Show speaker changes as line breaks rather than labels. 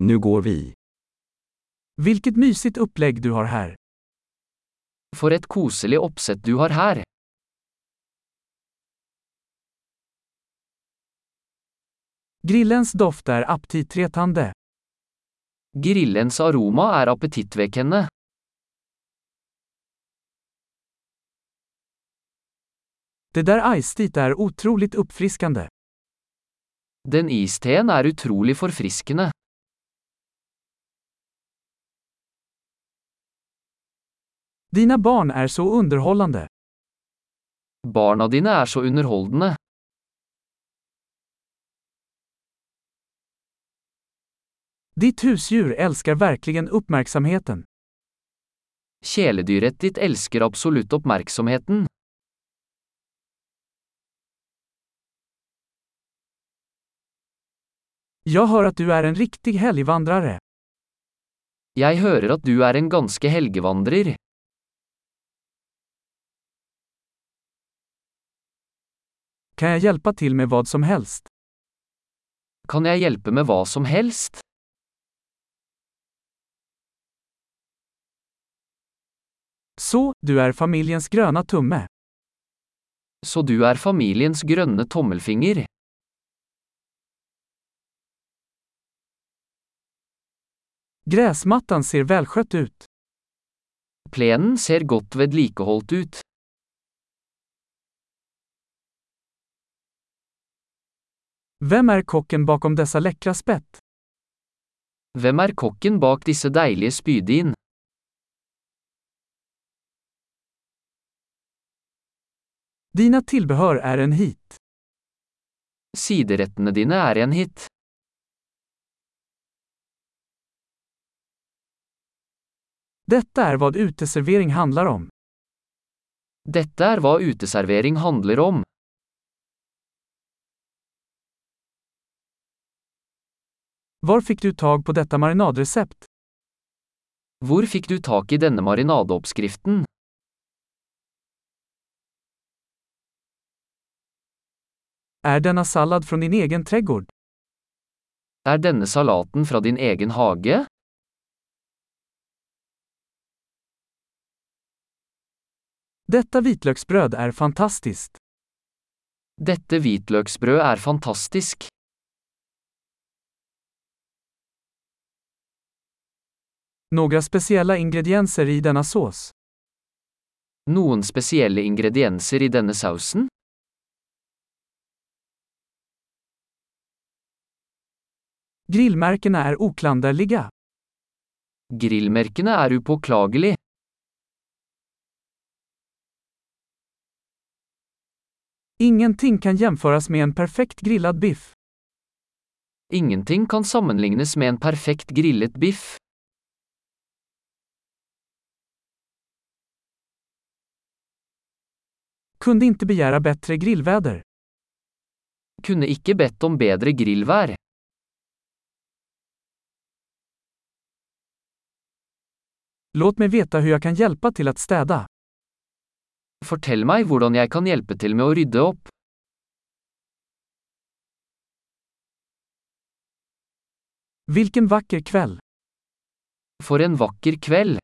Nu går vi.
Vilket mysigt upplägg du har här.
For et koselig oppsett du har her.
Grillens doft är aptitretande.
Grillens aroma er appetittvekkende.
Det där iced är otroligt uppfriskande.
Den isteen er utrolig forfriskende.
Dina barn är så underhållande.
Barna dine er så underholdende.
Ditt husdjur älskar verkligen uppmärksamheten.
Kjæledyret ditt elsker absolutt oppmerksomheten.
Jag hör att du är en riktig helgvandrare.
Jeg hører at du er en ganske helgevandrer.
Kan jag hjälpa till med vad som helst?
Kan jeg hjelpe med hva som helst?
Så, du är familjens gröna tumme.
Så du er familiens grønne tommelfinger.
Gräsmattan ser välskött ut.
Plenen ser godt vedlikeholdt ut.
Vem är kocken bakom dessa läckra spett?
Hvem er kokken bak disse deilige spydin?
Dina tillbehör är en hit.
Siderettene dine er en hit.
Detta är vad uteservering handlar om.
Dette er hva uteservering handler om.
Var fick du tag på detta marinadrecept?
Hvor fikk du tak i denne marinadeoppskriften?
Är denna sallad från din egen trädgård?
Er denne salaten fra din egen hage?
Detta vitlöksbröd är fantastiskt.
Dette hvitløksbrød er fantastisk.
Några speciella ingredienser i denna sås.
Noen spesielle ingredienser i denne sausen?
Grillmärkena är oklanderliga.
Grillmerkene er upåklagelig.
Ingenting kan jämföras med en perfekt grillad biff.
Ingenting kan sammenlignes med en perfekt grillet biff.
Kunde inte begära bättre grillväder.
Kunne ikke bedt om bedre grillvær.
Låt mig veta hur jag kan hjälpa till att städa.
Fortell meg hvordan jeg kan hjelpe til med å rydde opp.
Vilken vacker kväll!
For en vakker kveld!